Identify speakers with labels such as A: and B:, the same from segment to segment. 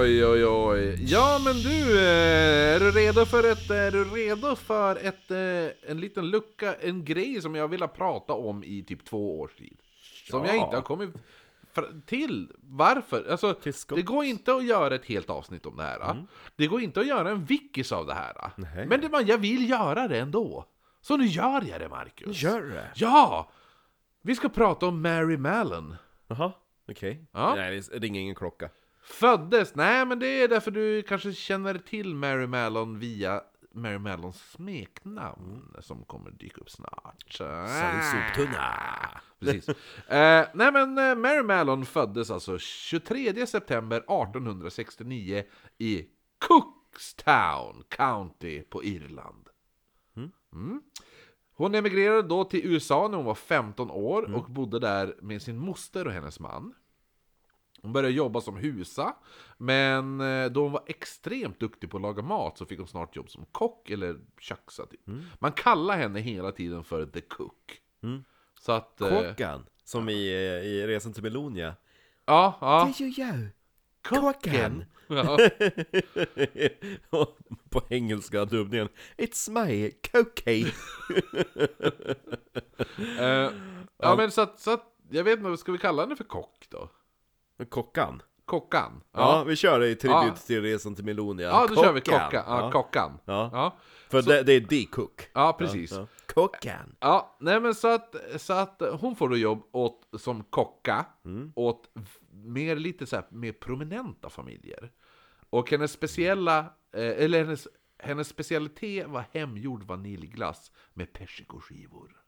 A: Oj, oj, oj. Ja, men du, eh, är du redo för ett, är du redo för ett, eh, en liten lucka, en grej som jag velat prata om i typ två års tid? Som jag
B: Ja.
A: inte har kommit fr- till. Varför? Alltså,
B: Till skott. Mm.
A: det går inte att göra ett helt avsnitt om det här. Det går inte att göra en wikis av det här.
B: Nej.
A: Men det, man, jag vill göra det ändå. Så nu gör jag det, Marcus.
B: Gör det?
A: Ja! Vi ska prata om Mary Mallon.
B: Jaha, okej.
A: Ja.
B: Nej, det ringer ingen klocka.
A: Föddes? Nej, men det är därför du kanske känner till Mary Mallon via Mary Mallons smeknamn som kommer dyka upp snart. Ah.
B: soptunna.
A: Precis. Eh, nej, men eh, Mary Mallon föddes alltså 23 september 1869 i Cookstown County på Irland. Mm. Hon emigrerade då till USA när hon var 15 år och bodde där med sin moster och hennes man. Hon började jobba som husa, men eh, då hon var extremt duktig på att laga mat så fick hon snart jobb som kock eller köksa. Typ. Man kallar henne hela tiden för The Cook. Så att... eh,
B: Kåkan, som i, eh, i Resan till Melonia.
A: Ja, ja.
B: är ju jag!
A: Kocken. Ja,
B: Och På engelska dubbningen. It's my cocaine.
A: eh, ja men så att, så att, jag vet inte, ska vi kalla henne för kock då?
B: Kockan.
A: Kockan?
B: Ja, vi kör det i tribut
A: Ja.
B: till Resan till Melonia.
A: ja då kör vi kockan. Ja, kockan.
B: Ja.
A: Ja.
B: För det, det är The Cook.
A: ja, precis. Ja,
B: Kockan.
A: nej men så att, så att hon får då jobb åt, som kocka åt v- mer lite så här, mer prominenta familjer. Och hennes speciella, eh, eller hennes, hennes specialitet var hemgjord vaniljglass med persikeskivor.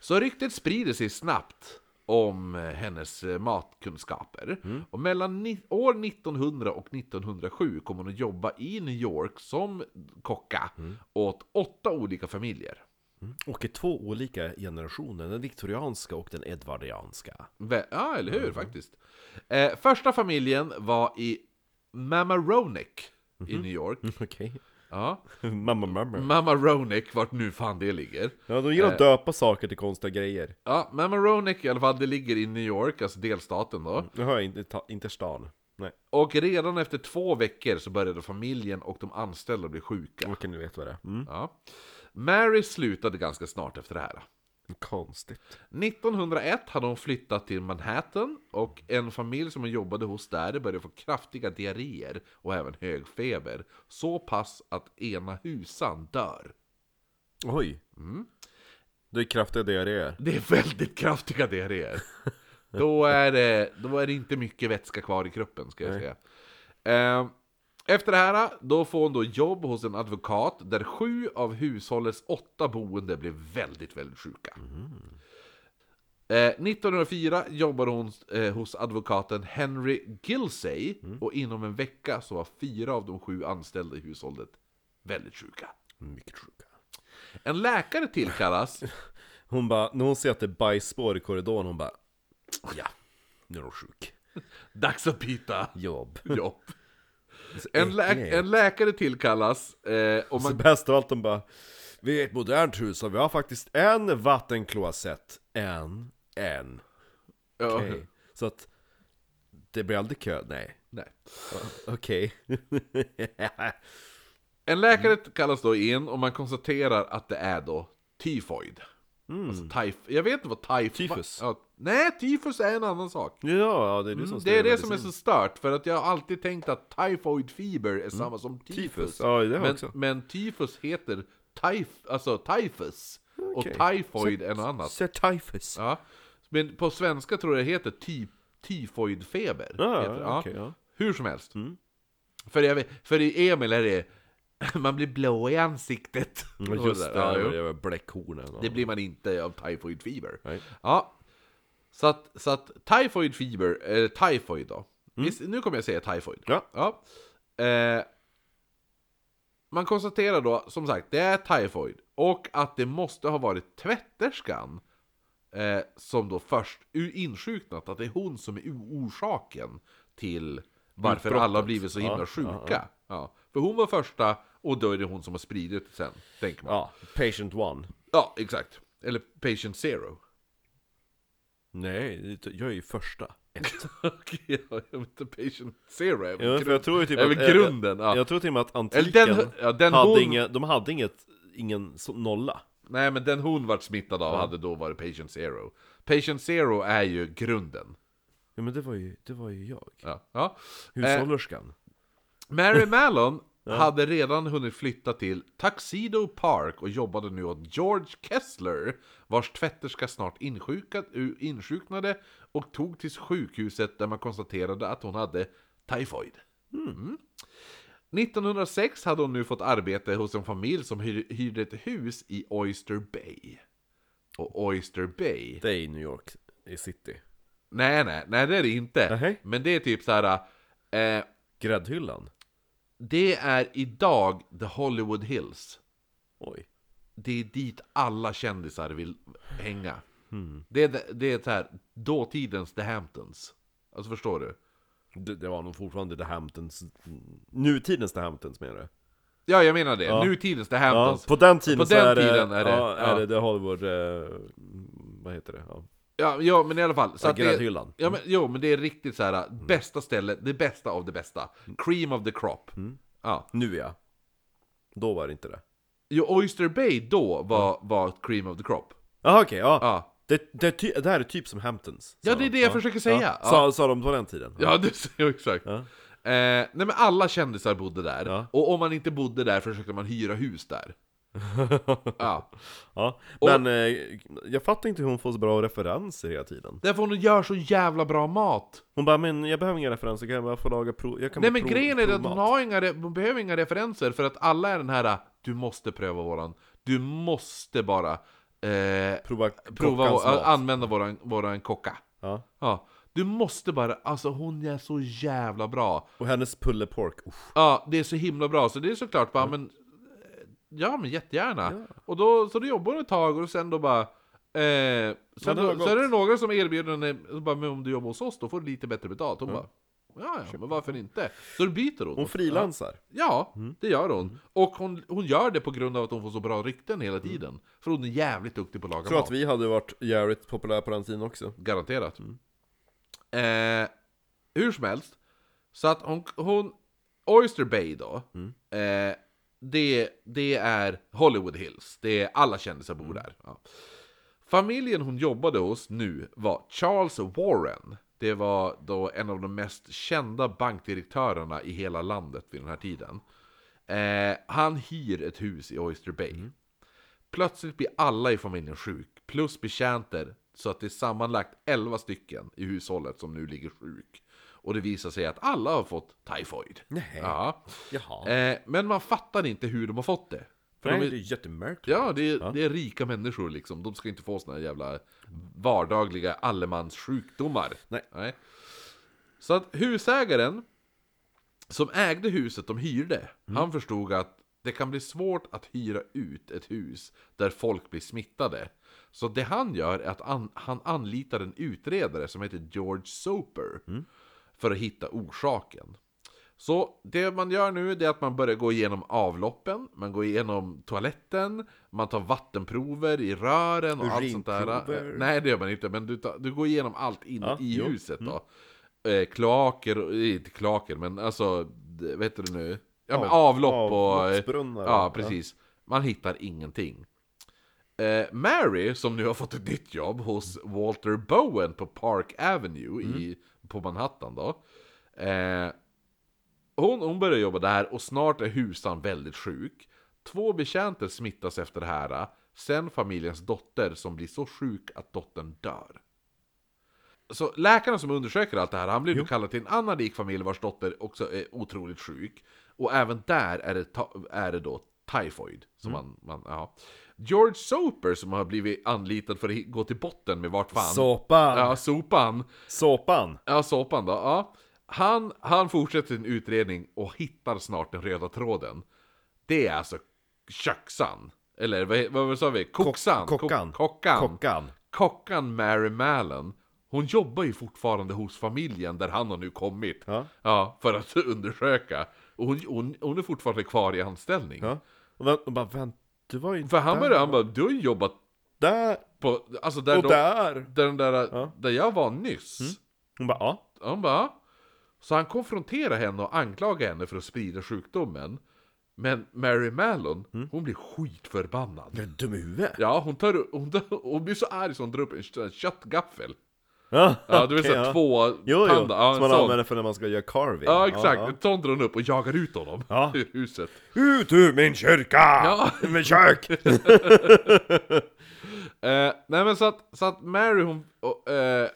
A: Så ryktet sprider sig snabbt om eh, hennes eh, matkunskaper. Och mellan ni- år 1900 och 1907 kom hon att jobba i New York som kocka åt åtta olika familjer.
B: Och i två olika generationer, den viktorianska och den edvardianska.
A: Vä- Ja, eller hur faktiskt. Eh, första familjen var i Mamaroneck i New York.
B: Okej.
A: Ja.
B: Mamma, mamma.
A: Mamaroneck, vart nu fan det ligger.
B: Ja, de gillar att döpa saker till konstiga grejer.
A: Ja, Mamaroneck i alla fall, det ligger i New York, alltså delstaten då.
B: Nu hör jag inte, ta, inte stan. Nej,
A: Och redan efter två veckor så började familjen och de anställda bli sjuka.
B: okej, nu vet vad det är. Mm.
A: Ja. Mary slutade ganska snart efter det här.
B: Konstigt.
A: 1901 hade hon flyttat till Manhattan och en familj som hon jobbade hos där började få kraftiga diarréer och även hög feber. Så pass att ena husan dör.
B: Oj. Det är kraftiga diarréer.
A: Det är väldigt kraftiga diarréer. Då är det, då är det inte mycket vätska kvar i kroppen, ska jag säga. Ehm, Efter det här, då får hon då jobb hos en advokat där sju av hushållets åtta boende blev väldigt, väldigt sjuka. Eh, 1904 jobbade hon eh, hos advokaten Henry Gilsey och inom en vecka så var fyra av de sju anställda i hushållet väldigt sjuka.
B: Mm, Mycket sjuka.
A: En läkare tillkallas
B: Hon bara, när hon ser att det är bajsspår i korridoren, hon bara Ja, nu är hon sjuk.
A: Dags att byta
B: Jobb.
A: jobb. En, lä
B: Äckligt.
A: en läkare tillkallas eh, och
B: Så
A: man...
B: bäst av allt, de bara Vi är ett modernt hus och vi har faktiskt en vattenklosett. En, en,
A: ja,
B: okej. Så att det blir aldrig kö, nej.
A: nej.
B: Okej.
A: En läkare
B: Mm.
A: kallas då in och man konstaterar att det är då tyfoid. Alltså tyf jag vet inte vad tyf
B: Mm. Tyfus.
A: Ja, nej, tyfus är en annan sak.
B: ja, Mm, det är du som
A: Det är det
B: medicin. Mm.
A: som är så stört, för att jag har alltid tänkt att tyfoid fever är samma som tyfus.
B: Tyfus. Ja, det har jag
A: men,
B: också.
A: men tyfus heter tyf alltså tyfus. Och
B: Okej.
A: tyfoid är något annat.
B: Sir Typhus.
A: Ja. Men på svenska tror jag det heter typ tyfoidfeber.
B: Ja,
A: heter det.
B: okej, ja. Mm.
A: Hur som helst. För, jag, vet- för i Emil är det man blir blå i ansiktet.
B: Men
A: Och
B: Mm, Just
A: där,
B: det, ja,
A: ja, jo.
B: det var bläckhornen.
A: det blir man inte av tyfoid fever.
B: Nej.
A: Ja. Så att, så att tyfoid fever, eller tyfoid då. Visst, nu kommer jag säga tyfoid.
B: Mm. Ja.
A: Eh, man konstaterar då, som sagt, det är tyfoid. Och att det måste ha varit tvätterskan Eh, som då först u- insjuknat att det är hon som är o- orsaken till varför
B: Utbrottet.
A: alla har blivit så himla
B: Ja,
A: sjuka. Ja, För hon var första och då är det hon som har spridit det sen, tänker man. Ja,
B: Ja, patient one.
A: exakt. Eller patient zero.
B: Nej, jag är ju första.
A: Okej, ja, jag vet inte, patient zero är väl
B: Ja, för
A: grund-
B: jag tror ju typ
A: är väl
B: eh,
A: grunden. Ja.
B: Jag tror till och med att
A: Eller
B: antiken
A: den, ja, den
B: hade
A: hon,
B: inget, de hade inget, ingen så- nolla.
A: Nej, men den hon vart smittad av hade då varit patient zero. Patient zero är ju grunden.
B: Ja men det var ju, det var ju jag.
A: Ja. Ja. Eh,
B: Hushållerskan.
A: Mary Mallon hade redan hunnit flytta till Tuxedo Park och jobbade nu åt George Kessler, vars tvätterska snart insjukat, u- insjuknade och tog till sjukhuset där man konstaterade att hon hade tyfoid. Mm. 1906 hade hon nu fått arbete hos en familj som hyr- hyrde ett hus i Oyster Bay. Och Oyster Bay
B: Det är i New York i city.
A: Nej, nej, nej det är det inte.
B: Nej.
A: Men det är typ så här. Eh,
B: Gräddhyllan.
A: det är idag The Hollywood Hills.
B: Oj.
A: Det är dit alla kändisar vill hänga.
B: Hmm.
A: Det är, det är så här, dåtidens The Hamptons. Alltså förstår du?
B: Det, det var nog fortfarande The Hamptons, nutidens The Hamptons menar du?
A: Ja, jag menar det. Nutidens The
B: Ja,
A: Hamptons.
B: på den tiden
A: alltså. På
B: så
A: den
B: är,
A: tiden
B: det,
A: är det-
B: ja, är
A: ja.
B: det The Hollywood, eh, vad heter det? Ja.
A: Ja, ja men i alla fall. Så
B: Ja, Mm.
A: att det-
B: gräddhyllan.
A: Ja, men, jo, men det är riktigt så här, bästa stället, det bästa av det bästa.
B: Mm.
A: Cream of the crop. Ja.
B: Nu ja. Då var det inte det.
A: Jo, Oyster Bay då var, var cream of the crop.
B: Jaha okej, ja.
A: Ja.
B: Det, det, är ty- det här är typ som Hamptons. sa
A: Ja, det är
B: de.
A: det jag försöker säga.
B: Sa, sa de på den tiden?
A: Ja, det ser jag exakt.
B: Ja.
A: Eh, nej men alla kändisar bodde där,
B: Ja.
A: och om man inte bodde där försökte man hyra hus där. ja.
B: Ja, men eh, jag fattar inte hur hon får så bra referenser hela tiden.
A: Därför hon gör så jävla bra mat.
B: Hon bara, men jag behöver inga referenser, kan jag bara få laga prov? Jag kan
A: nej
B: bara
A: men
B: prov-
A: grejen är att
B: provmat."
A: hon, har inga, re- hon behöver inga referenser för att alla är den här äh, Du måste pröva våran, du måste bara eh,
B: Prova,
A: prova eh,
B: prova
A: vår,
B: mat.
A: använda våran, våran kocka.
B: ja.
A: Ja. Du måste bara, alltså hon är så jävla bra.
B: Och hennes pulle pork, usch.
A: Ja, det är så himla bra, så det är såklart bara, men... Ja, men jättegärna. Och då, så då jobbar hon ett tag och sen då bara... Eh, sen
B: det var
A: då,
B: gott.
A: så är det några som erbjuder henne, och bara, men om du jobbar hos oss då får du lite bättre betalt. Hon bara, ja, ja, men varför inte? Så då byter hon. Mm.
B: Hon frilansar.
A: Ja, det gör hon. Och hon, hon gör det på grund av att hon får så bra rykten hela tiden. För hon är jävligt duktig på Mm. att laga
B: Tror
A: mat.
B: att vi hade varit jävligt populära på den tiden också.
A: Garanterat. Eh, hur som helst. Så att hon... hon Oyster Bay då. Eh, det, det är Hollywood Hills. Det är alla kändisar bor där. Ja. Familjen hon jobbade hos nu var Charles Warren. Det var då en av de mest kända bankdirektörerna i hela landet vid den här tiden. Eh, han hyr ett hus i Oyster Bay. Plötsligt blir alla i familjen sjuk, plus betjänter, så att det är sammanlagt 11 stycken i hushållet som nu ligger sjuk. Och det visar sig att alla har fått tyfoid.
B: Nej.
A: Ja.
B: Jaha.
A: Eh, men man fattar inte hur de har fått det. För
B: Nej,
A: de
B: det
A: är,
B: är jättemärkligt.
A: ja, det är, det är rika människor liksom. De ska inte få såna här jävla vardagliga allemanssjukdomar.
B: Nej.
A: Nej. Så att husägaren som ägde huset de hyrde,
B: Mm.
A: han förstod att det kan bli svårt att hyra ut ett hus där folk blir smittade. Så det han gör är att an, han anlitar en utredare som heter George Soper
B: Mm.
A: för att hitta orsaken. Så det man gör nu det är att man börjar gå igenom avloppen, man går igenom toaletten, man tar vattenprover i rören och allt sånt där.
B: Urinprover.
A: Nej, det gör man inte, men du, tar, du går igenom allt in
B: Ja,
A: i
B: jo. Mm.
A: huset då. Eh, kloaker, och- eh, inte kloaker, men alltså, det- vad heter det nu? Ja, men
B: Av-
A: avlopp och... eh,
B: avloppsbrunnar.
A: Ja, precis. Man hittar ingenting. Eh, Mary, som nu har fått ett nytt jobb hos Walter Bowen på Park Avenue i, på Manhattan då. Eh, hon, hon börjar jobba där och snart är husan väldigt sjuk. Två betjänter smittas efter det här. Sen familjens dotter som blir så sjuk att dottern dör. Så läkaren som undersöker allt det här, han blir nu kallad till en annan rik familj vars dotter också är otroligt sjuk. Och även där är det, ta- är det då tyfoid. Som man, man, ja. George Soper som har blivit anlitad för att gå till botten med vart fan...
B: Såpan!
A: Ja, sopan.
B: Såpan!
A: Ja, såpan då. Ja. Han, han fortsätter sin utredning och hittar snart den röda tråden. Det är alltså köksan. Eller vad, vad sa vi? Koksan?
B: Kock- kockan.
A: Ko- kockan.
B: Kockan.
A: kockan Mary Mallon, hon jobbar ju fortfarande hos familjen där han har nu kommit.
B: Ja.
A: för att undersöka. Och hon, hon, hon är fortfarande kvar i anställning.
B: Ja. Och vä- och bara, vänta, du var ju inte
A: För han
B: där.
A: började, han bara, du har ju jobbat
B: Där
A: på, alltså där,
B: och
A: de,
B: där.
A: där, den där,
B: Ja. Mm.
A: där jag var nyss.
B: Hon bara, ja.
A: Han bara, "Ja." så han konfronterar henne och anklagar henne för att sprida sjukdomen. Men Mary Mallon,
B: Mm.
A: hon blir skitförbannad.
B: Jag är dum i huvudet.
A: Ja, hon, tar, hon, tar, hon blir så arg så hon drar upp en sån här köttgaffel.
B: Ja,
A: Ja, du vet
B: okej,
A: såhär
B: ja.
A: två
B: Jo, jo.
A: panda. Ja,
B: som
A: en
B: man
A: sån.
B: använder för när man ska göra carving.
A: Ja, exakt. En sån drar hon upp och jagar ut honom
B: Ja.
A: ur huset.
B: Ut ur min kyrka!
A: Ja.
B: Ur min kök!
A: Eh, nej men så att, så att Mary hon, och, eh,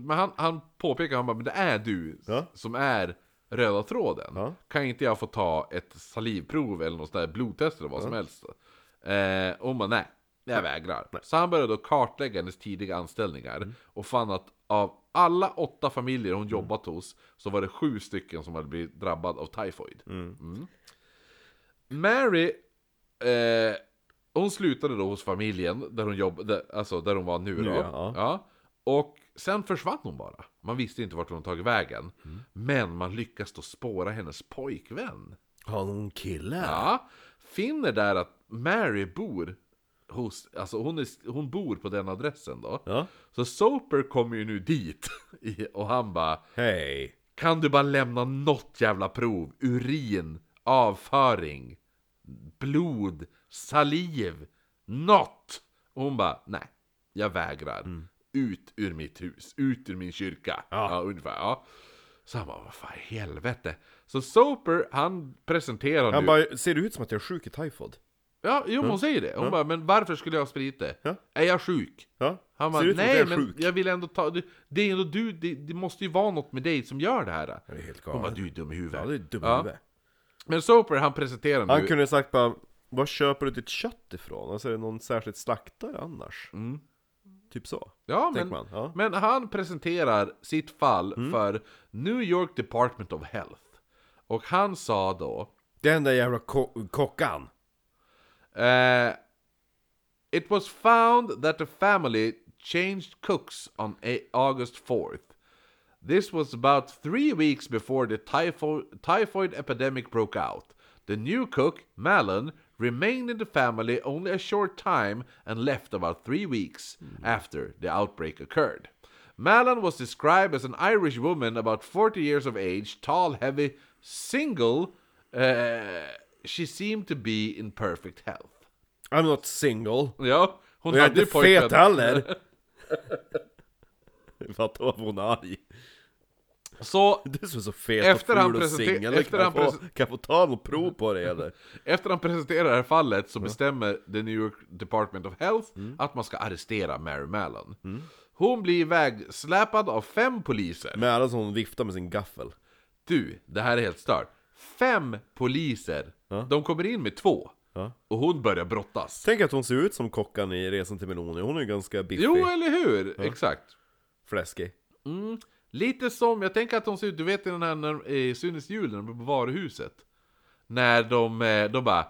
A: men han, han påpekar, han bara, men det är du
B: Ja.
A: som är röda tråden.
B: Ja.
A: Kan inte jag få ta ett salivprov eller något sånt där blodtest eller vad som helst? Eh, och hon bara, nej, jag vägrar. Så han började då kartlägga hennes tidiga anställningar
B: Mm.
A: och fann att av alla åtta familjer hon jobbat hos så var det sju stycken som hade blivit drabbad av tyfoid. Mm. Mary eh, hon slutade då hos familjen där hon jobbade, alltså där hon var nu då.
B: Nu, ja.
A: Ja. Och sen försvann hon bara. Man visste inte vart hon tagit vägen.
B: Mm.
A: Men man lyckas då spåra hennes pojkvän.
B: Har någon kille?
A: Ja. Finner där att Mary bor hos, alltså hon, är, hon bor på den adressen då.
B: Ja.
A: Så Soper kommer ju nu dit i- och han bara
B: Hej.
A: Kan du bara lämna något jävla prov? Urin, avföring, blod, saliv, något! Och hon bara, nej, jag vägrar.
B: Mm.
A: Ut ur mitt hus, ut ur min kyrka. Ja. ungefär. Ja. Så han bara, vad fan i helvete? Så Soper, han presenterar
B: Han
A: nu...
B: bara, ser det ut som att jag är sjuk i tyfod?
A: ja, jo, hon säger det. Hon bara, men varför skulle jag ha spridit det?
B: Ja.
A: Är jag sjuk?
B: Ja.
A: Han
B: ser
A: bara,
B: det ut som att
A: nej
B: jag är
A: men
B: sjuk?
A: jag vill ändå ta, det, det är ändå du, det, det måste ju vara något med dig som gör det här.
B: Det är helt
A: Hon bara,
B: galet.
A: du är dum i huvudet.
B: Ja, det är dum i
A: Ja.
B: huvudet.
A: Men Soper, han presenterar nu...
B: Han kunde ha sagt bara, var köper du ditt kött ifrån? Alltså är det någon särskild slaktare annars?
A: Mm.
B: Typ så.
A: ja,
B: tänker
A: men,
B: man, ja. Mm.
A: men han presenterar sitt fall för New York Department of Health. Och han sa då...
B: Den där jävla ko- kockan!
A: Eh, It was found that the family changed cooks on a- August 4th. This was about three weeks before the typho- typhoid epidemic broke out. The new cook, Malin, remained in the family only a short time and left about three weeks after the outbreak occurred. Malin was described as an Irish woman about 40 years of age, tall, heavy, single. Uh, she seemed to be in perfect health.
B: I'm not single.
A: Ja, hon
B: Och jag är
A: hade ju
B: inte
A: pojkvän.
B: fet heller! Fattar vad hon är arg.
A: Så
B: Du som är så fet
A: Efter
B: och
A: han
B: ful och
A: presenter-
B: singel,
A: efter
B: kan, jag
A: han
B: få- kan jag få ta något prov på det eller?
A: Efter han presenterar det här fallet så bestämmer The New York Department of Health
B: Mm.
A: att man ska arrestera Mary Mallon. Hon blir ivägsläpad av fem poliser.
B: Med alla som viftar med sin gaffel.
A: Du, det här är helt stört. Fem poliser! De kommer in med två.
B: Ja.
A: Och hon börjar brottas.
B: Tänk att hon ser ut som kockan i Resan till Meloni, hon är ju ganska biffig,
A: Jo, eller hur? Exakt.
B: fläskig.
A: Lite som, jag tänker att de ser ut, du vet i den här när, i Sunes jul när de är på varuhuset. När de, eh, de bara,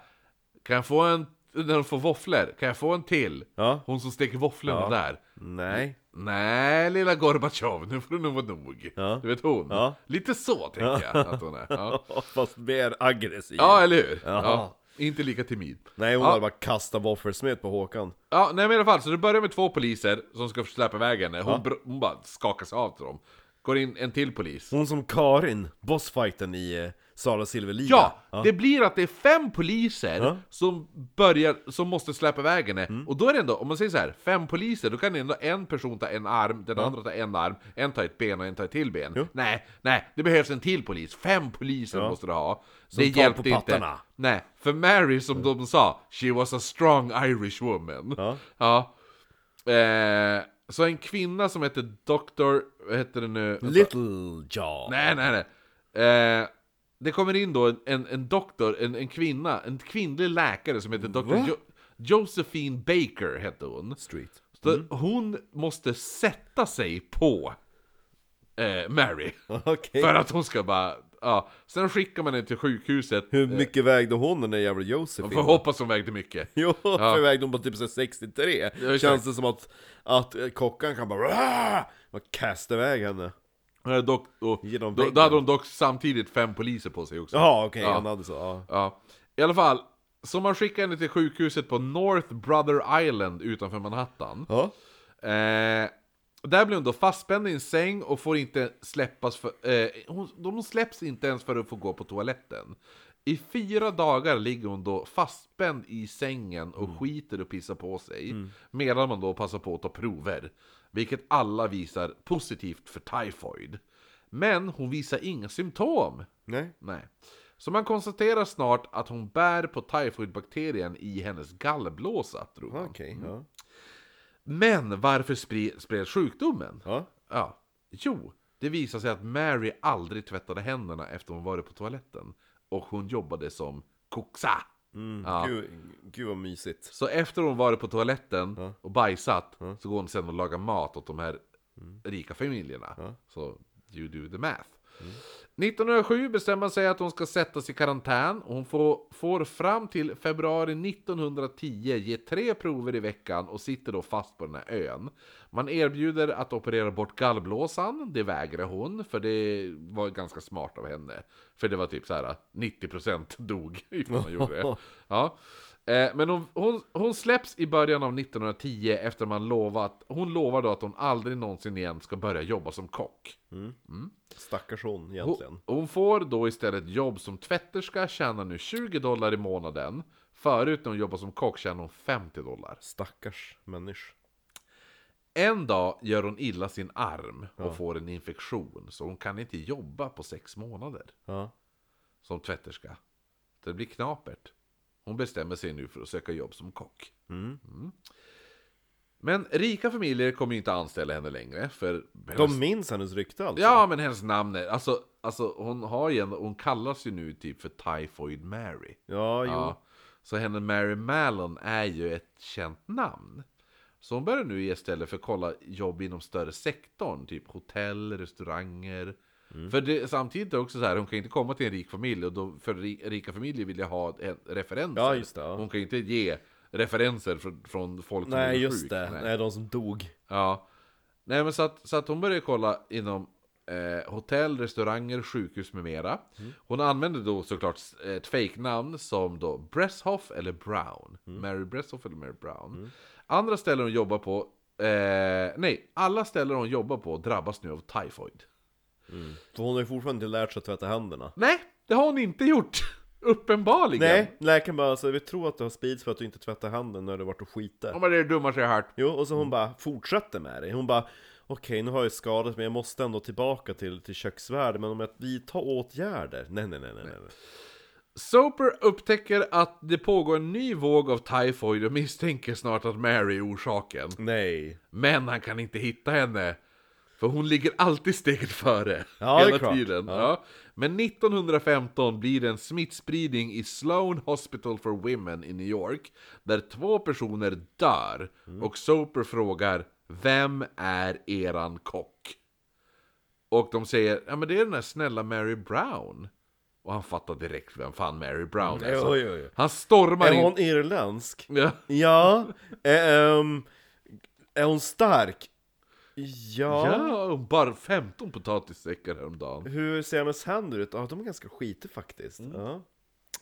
A: kan jag få en, när de får våfflor, kan jag få en till?
B: Ja.
A: Hon som steker våfflorna
B: Ja.
A: där.
B: Nej.
A: Nej, lilla Gorbatjov, nu får du nog vara nog.
B: Ja.
A: Du vet hon.
B: Ja.
A: Lite så tänker jag att hon är. Ja,
B: Fast mer aggressiv.
A: ja eller hur?
B: Jaha.
A: Ja. Inte lika timid.
B: Nej hon
A: Ja.
B: hade bara kastat våffelsmet på Håkan.
A: Ja, nej men i alla fall, så det börjar med två poliser som ska släpa iväg henne. Hon, br- hon bara skakar sig av till dem. Går in en till polis.
B: Hon som Karin, bossfighten i eh, Sala Silverliga.
A: Ja, det blir att det är fem poliser
B: Ja. Mm.
A: som börjar, som måste släppa iväg henne. Och då är det ändå, om man säger så här, fem poliser, då kan ändå en person ta en arm, den andra ta en arm, en tar ett ben och en tar ett till ben. Nej, nej, det behövs en till polis. Fem poliser måste du ha. det
B: tar
A: hjälpte
B: på
A: inte.
B: pattarna.
A: Nej, för Mary som de sa, she was a strong Irish woman.
B: Ja.
A: Ja. Eh, så en kvinna som heter Dr. Vad heter det nu?
B: Little Jaw.
A: Nej, nej, nej. Eh, det kommer in då en, en, en doktor, en, en kvinna, en kvinnlig läkare som heter Dr. Jo- Josephine Baker hette hon.
B: Street. Mm.
A: Så Hon måste sätta sig på eh, Mary.
B: Okej.
A: För att hon ska bara... Ja, sen skickar man henne till sjukhuset.
B: Hur mycket vägde hon den där jävla
A: Man
B: Josefin?
A: får hoppas hon vägde mycket.
B: Jo, för vägde hon på typ så här 63
A: just
B: Känns det som att, att kockan kan bara "Rah!" och kasta iväg henne
A: Eh, Dock, och,
B: Genom
A: då, då
B: väggen.
A: hade hon dock samtidigt fem poliser på sig också.
B: Jaha okej,
A: Ja.
B: han hade så, ja.
A: Ja. I alla fall, så man skickar henne till sjukhuset på North Brother Island utanför Manhattan.
B: ja.
A: Eh, där blir hon då fastspänd i en säng och får inte släppas för... Eh, hon, de släpps inte ens för att få gå på toaletten. I fyra dagar ligger hon då fastspänd i sängen och skiter och pissar på sig. Medan man då passar på att ta prover. Vilket alla visar positivt för tyfoid. Men hon visar inga symptom.
B: Nej.
A: Nej. Så man konstaterar snart att hon bär på tyfoidbakterien i hennes gallblåsa, tror man.
B: Okej, ja.
A: Men varför spre- spreds sjukdomen?
B: ja.
A: Ja, jo, det visade sig att Mary aldrig tvättade händerna efter hon varit på toaletten. Och hon jobbade som koksa. Ja.
B: Mm. Gud, gud vad mysigt.
A: Så efter hon varit på toaletten
B: Ja. Mm.
A: och bajsat så går hon sen och lagar mat åt de här rika familjerna. Så you do the math.
B: Mm.
A: 1907 bestämmer man sig att hon ska sättas i karantän och hon får, får fram till februari 1910 ge tre prover i veckan och sitter då fast på den här ön. Man erbjuder att operera bort gallblåsan, det vägrar hon för det var ganska smart av henne. För det var typ så här 90% dog ifall man gjorde det. Ja. Eh, Men hon, hon, hon släpps i början av 1910 efter man lovat, hon lovar då att hon aldrig någonsin igen ska börja jobba som kock.
B: Stackars hon egentligen.
A: Hon, hon får då istället jobb som tvätterska, tjänar nu 20 dollar i månaden. Förut när hon jobbade som kock tjänade hon 50 dollar.
B: Stackars människa.
A: En dag gör hon illa sin arm och får en infektion, så hon kan inte jobba på sex månader
B: Ja.
A: som tvätterska. Det blir knapert. Hon bestämmer sig nu för att söka jobb som kock. Mm. Men rika familjer kommer ju inte anställa henne längre, för
B: De minns hennes rykte alltså?
A: Ja, men hennes namn är... Alltså, alltså hon, har ju en, hon kallas ju nu typ för Typhoid Mary.
B: Ja, jo.
A: Ja. Så henne Mary Mallon är ju ett känt namn. Så hon börjar nu istället för att kolla jobb inom större sektorn, typ hotell, restauranger.
B: Mm.
A: För det, samtidigt är det också så här, hon kan inte komma till en rik familj och då, för ri- rika familjer vill ju ha en, referenser.
B: Ja, just det, ja.
A: Hon kan ju inte ge referenser från, från folk som
B: Nej
A: är
B: just
A: sjuk.
B: det,
A: Nej.
B: Nej, de som dog.
A: Ja. Nej men så att, så att hon började kolla inom eh, hotell, restauranger, sjukhus med mera. Hon använde då såklart eh, ett fejknamn som då Bresshoff eller Brown. Mary Bresshoff eller Mary Brown. Andra ställen hon jobbar på, eh, nej, alla ställen hon jobbar på drabbas nu av tyfoid.
B: För hon har ju fortfarande inte lärt sig att tvätta händerna.
A: Nej, det har hon inte gjort! Uppenbarligen!
B: Nej, läkaren bara alltså, vi tror att du har spridits för att du inte tvättar handen när du varit och skiter.
A: Om det är det dummaste jag har hört.
B: Jo, och så hon bara fortsätter med det. Hon bara Okej, nu har jag skadat men jag måste ändå tillbaka till, till köksvärlden Men om jag vi tar åtgärder? Nej, nej, nej, nej, nej.
A: Soper upptäcker att det pågår en ny våg av tyfoid och misstänker snart att Mary är orsaken.
B: Nej.
A: Men han kan inte hitta henne. För hon ligger alltid steget före.
B: Ja, det är
A: hela
B: klart.
A: tiden. Ja. Men 1915 blir det en smittspridning i Sloan Hospital for Women i New York. Där två personer dör.
B: Mm.
A: Och Soper frågar Vem är eran kock? Och de säger Ja men det är den här snälla Mary Brown. Och han fattar direkt vem fan Mary Brown är.
B: Jo,
A: så
B: jo, jo.
A: Han stormar
B: Mm, Alltså, Är
A: in.
B: hon irländsk?
A: Ja.
B: Ja. Är, ehm, är hon stark? Ja.
A: Ja, bara 15 potatissäckar häromdagen.
B: Hur ser hennes händer ut? Ja, de är ganska skitig faktiskt.
A: Mm.
B: Ja.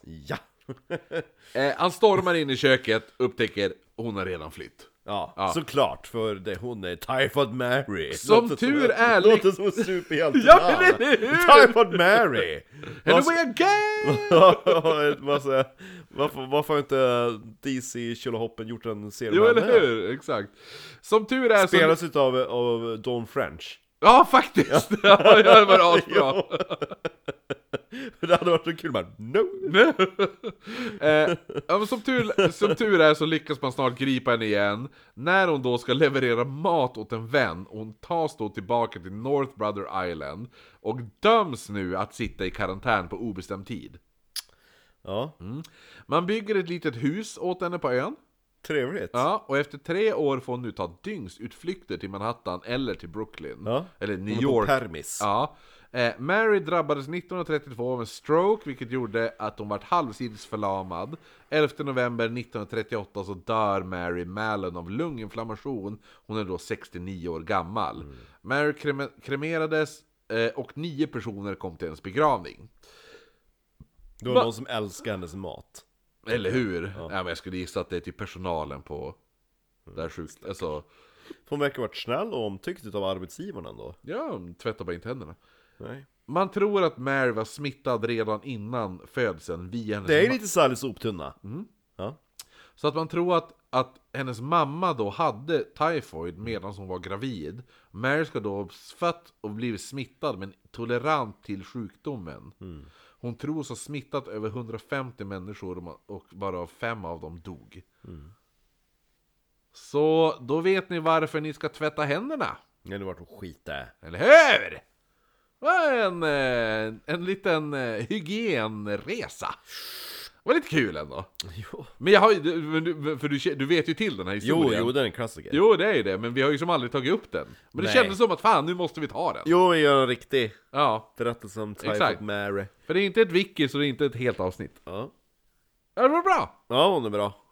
B: Ja.
A: Eh, han stormar in i köket, upptäcker hon har redan flytt.
B: Ja, såklart, för det, hon är Typhoid Mary
A: Som
B: Låter
A: tur
B: som,
A: är-
B: Låter som en superhjälte
A: Ja, men eller hur?
B: Typhoid Mary!
A: Anyway again!
B: varför, varför, varför har inte DC Tjolahoppen gjort en serie
A: Jo,
B: om
A: eller
B: henne?
A: hur? Alltså, Exakt. Som tur är så...
B: Spelas utav av Dawn French
A: Ja, faktiskt! Ja, det var asbra.
B: Det hade varit så kul men
A: Mm.
B: no!
A: Eh, ja, men som, tur, som tur är så lyckas man snart gripa henne igen. När hon då ska leverera mat åt en vän, och hon tas då tillbaka till North Brother Island och döms nu att sitta i karantän på obestämd tid.
B: Ja,
A: Man bygger ett litet hus åt henne på ön.
B: trevligt
A: Ja, och efter tre år får hon nu ta dygnsutflykter till Manhattan eller till Brooklyn.
B: Ja.
A: Eller New
B: Hon var på
A: York.
B: Permis
A: Ja. Eh, Mary drabbades 1932 av en stroke, vilket gjorde att hon vart halvsidsförlamad. 11 november 1938 så dör Mary Mallon av lunginflammation. Hon är då 69 år gammal.
B: Mm.
A: Mary kreme- kremerades eh, och nio personer kom till hennes begravning.
B: Det var någon som älskar hennes mat.
A: Eller hur? Ja. men jag skulle gissa att det är typ personalen på
B: Mm.
A: det här sjuk... Alltså,
B: Hon verkar ha varit snäll och omtyckt av arbetsgivaren ändå.
A: ja, de tvättar bara inte händerna.
B: Nej.
A: Man tror att Mary var smittad redan innan födseln via hennes
B: Det Mm. är
A: ma-
B: lite såhär lite soptunna. Ja.
A: Så att man tror att, att hennes mamma då hade tyfoid medan hon var gravid. Mary ska då ha fött och blivit smittad men tolerant till sjukdomen.
B: Mm.
A: Hon tros ha smittat över 150 människor och ma- och bara fem av dem dog.
B: Mm.
A: Så då vet ni varför ni ska tvätta händerna,
B: Det hade varit skit det.
A: eller hur? Det var En, eh, en liten eh, hygienresa. Det var lite kul ändå.
B: Jo,
A: Men jag har ju, du- men du- för du, ke- du vet ju till den här
B: jo,
A: historien.
B: jo det är en klassiker. Jo,
A: Jo, det är ju det, men vi har ju som aldrig tagit upp den. Men det
B: Nej.
A: kändes som att fan, nu måste vi ta den.
B: jo vi gör en riktig
A: Ja,
B: berättelse om
A: Exakt.
B: Typhoid Mary.
A: för det är inte ett wiki, så det är inte ett helt avsnitt.
B: Ja.
A: Ja, det var bra!
B: ja, hon är bra.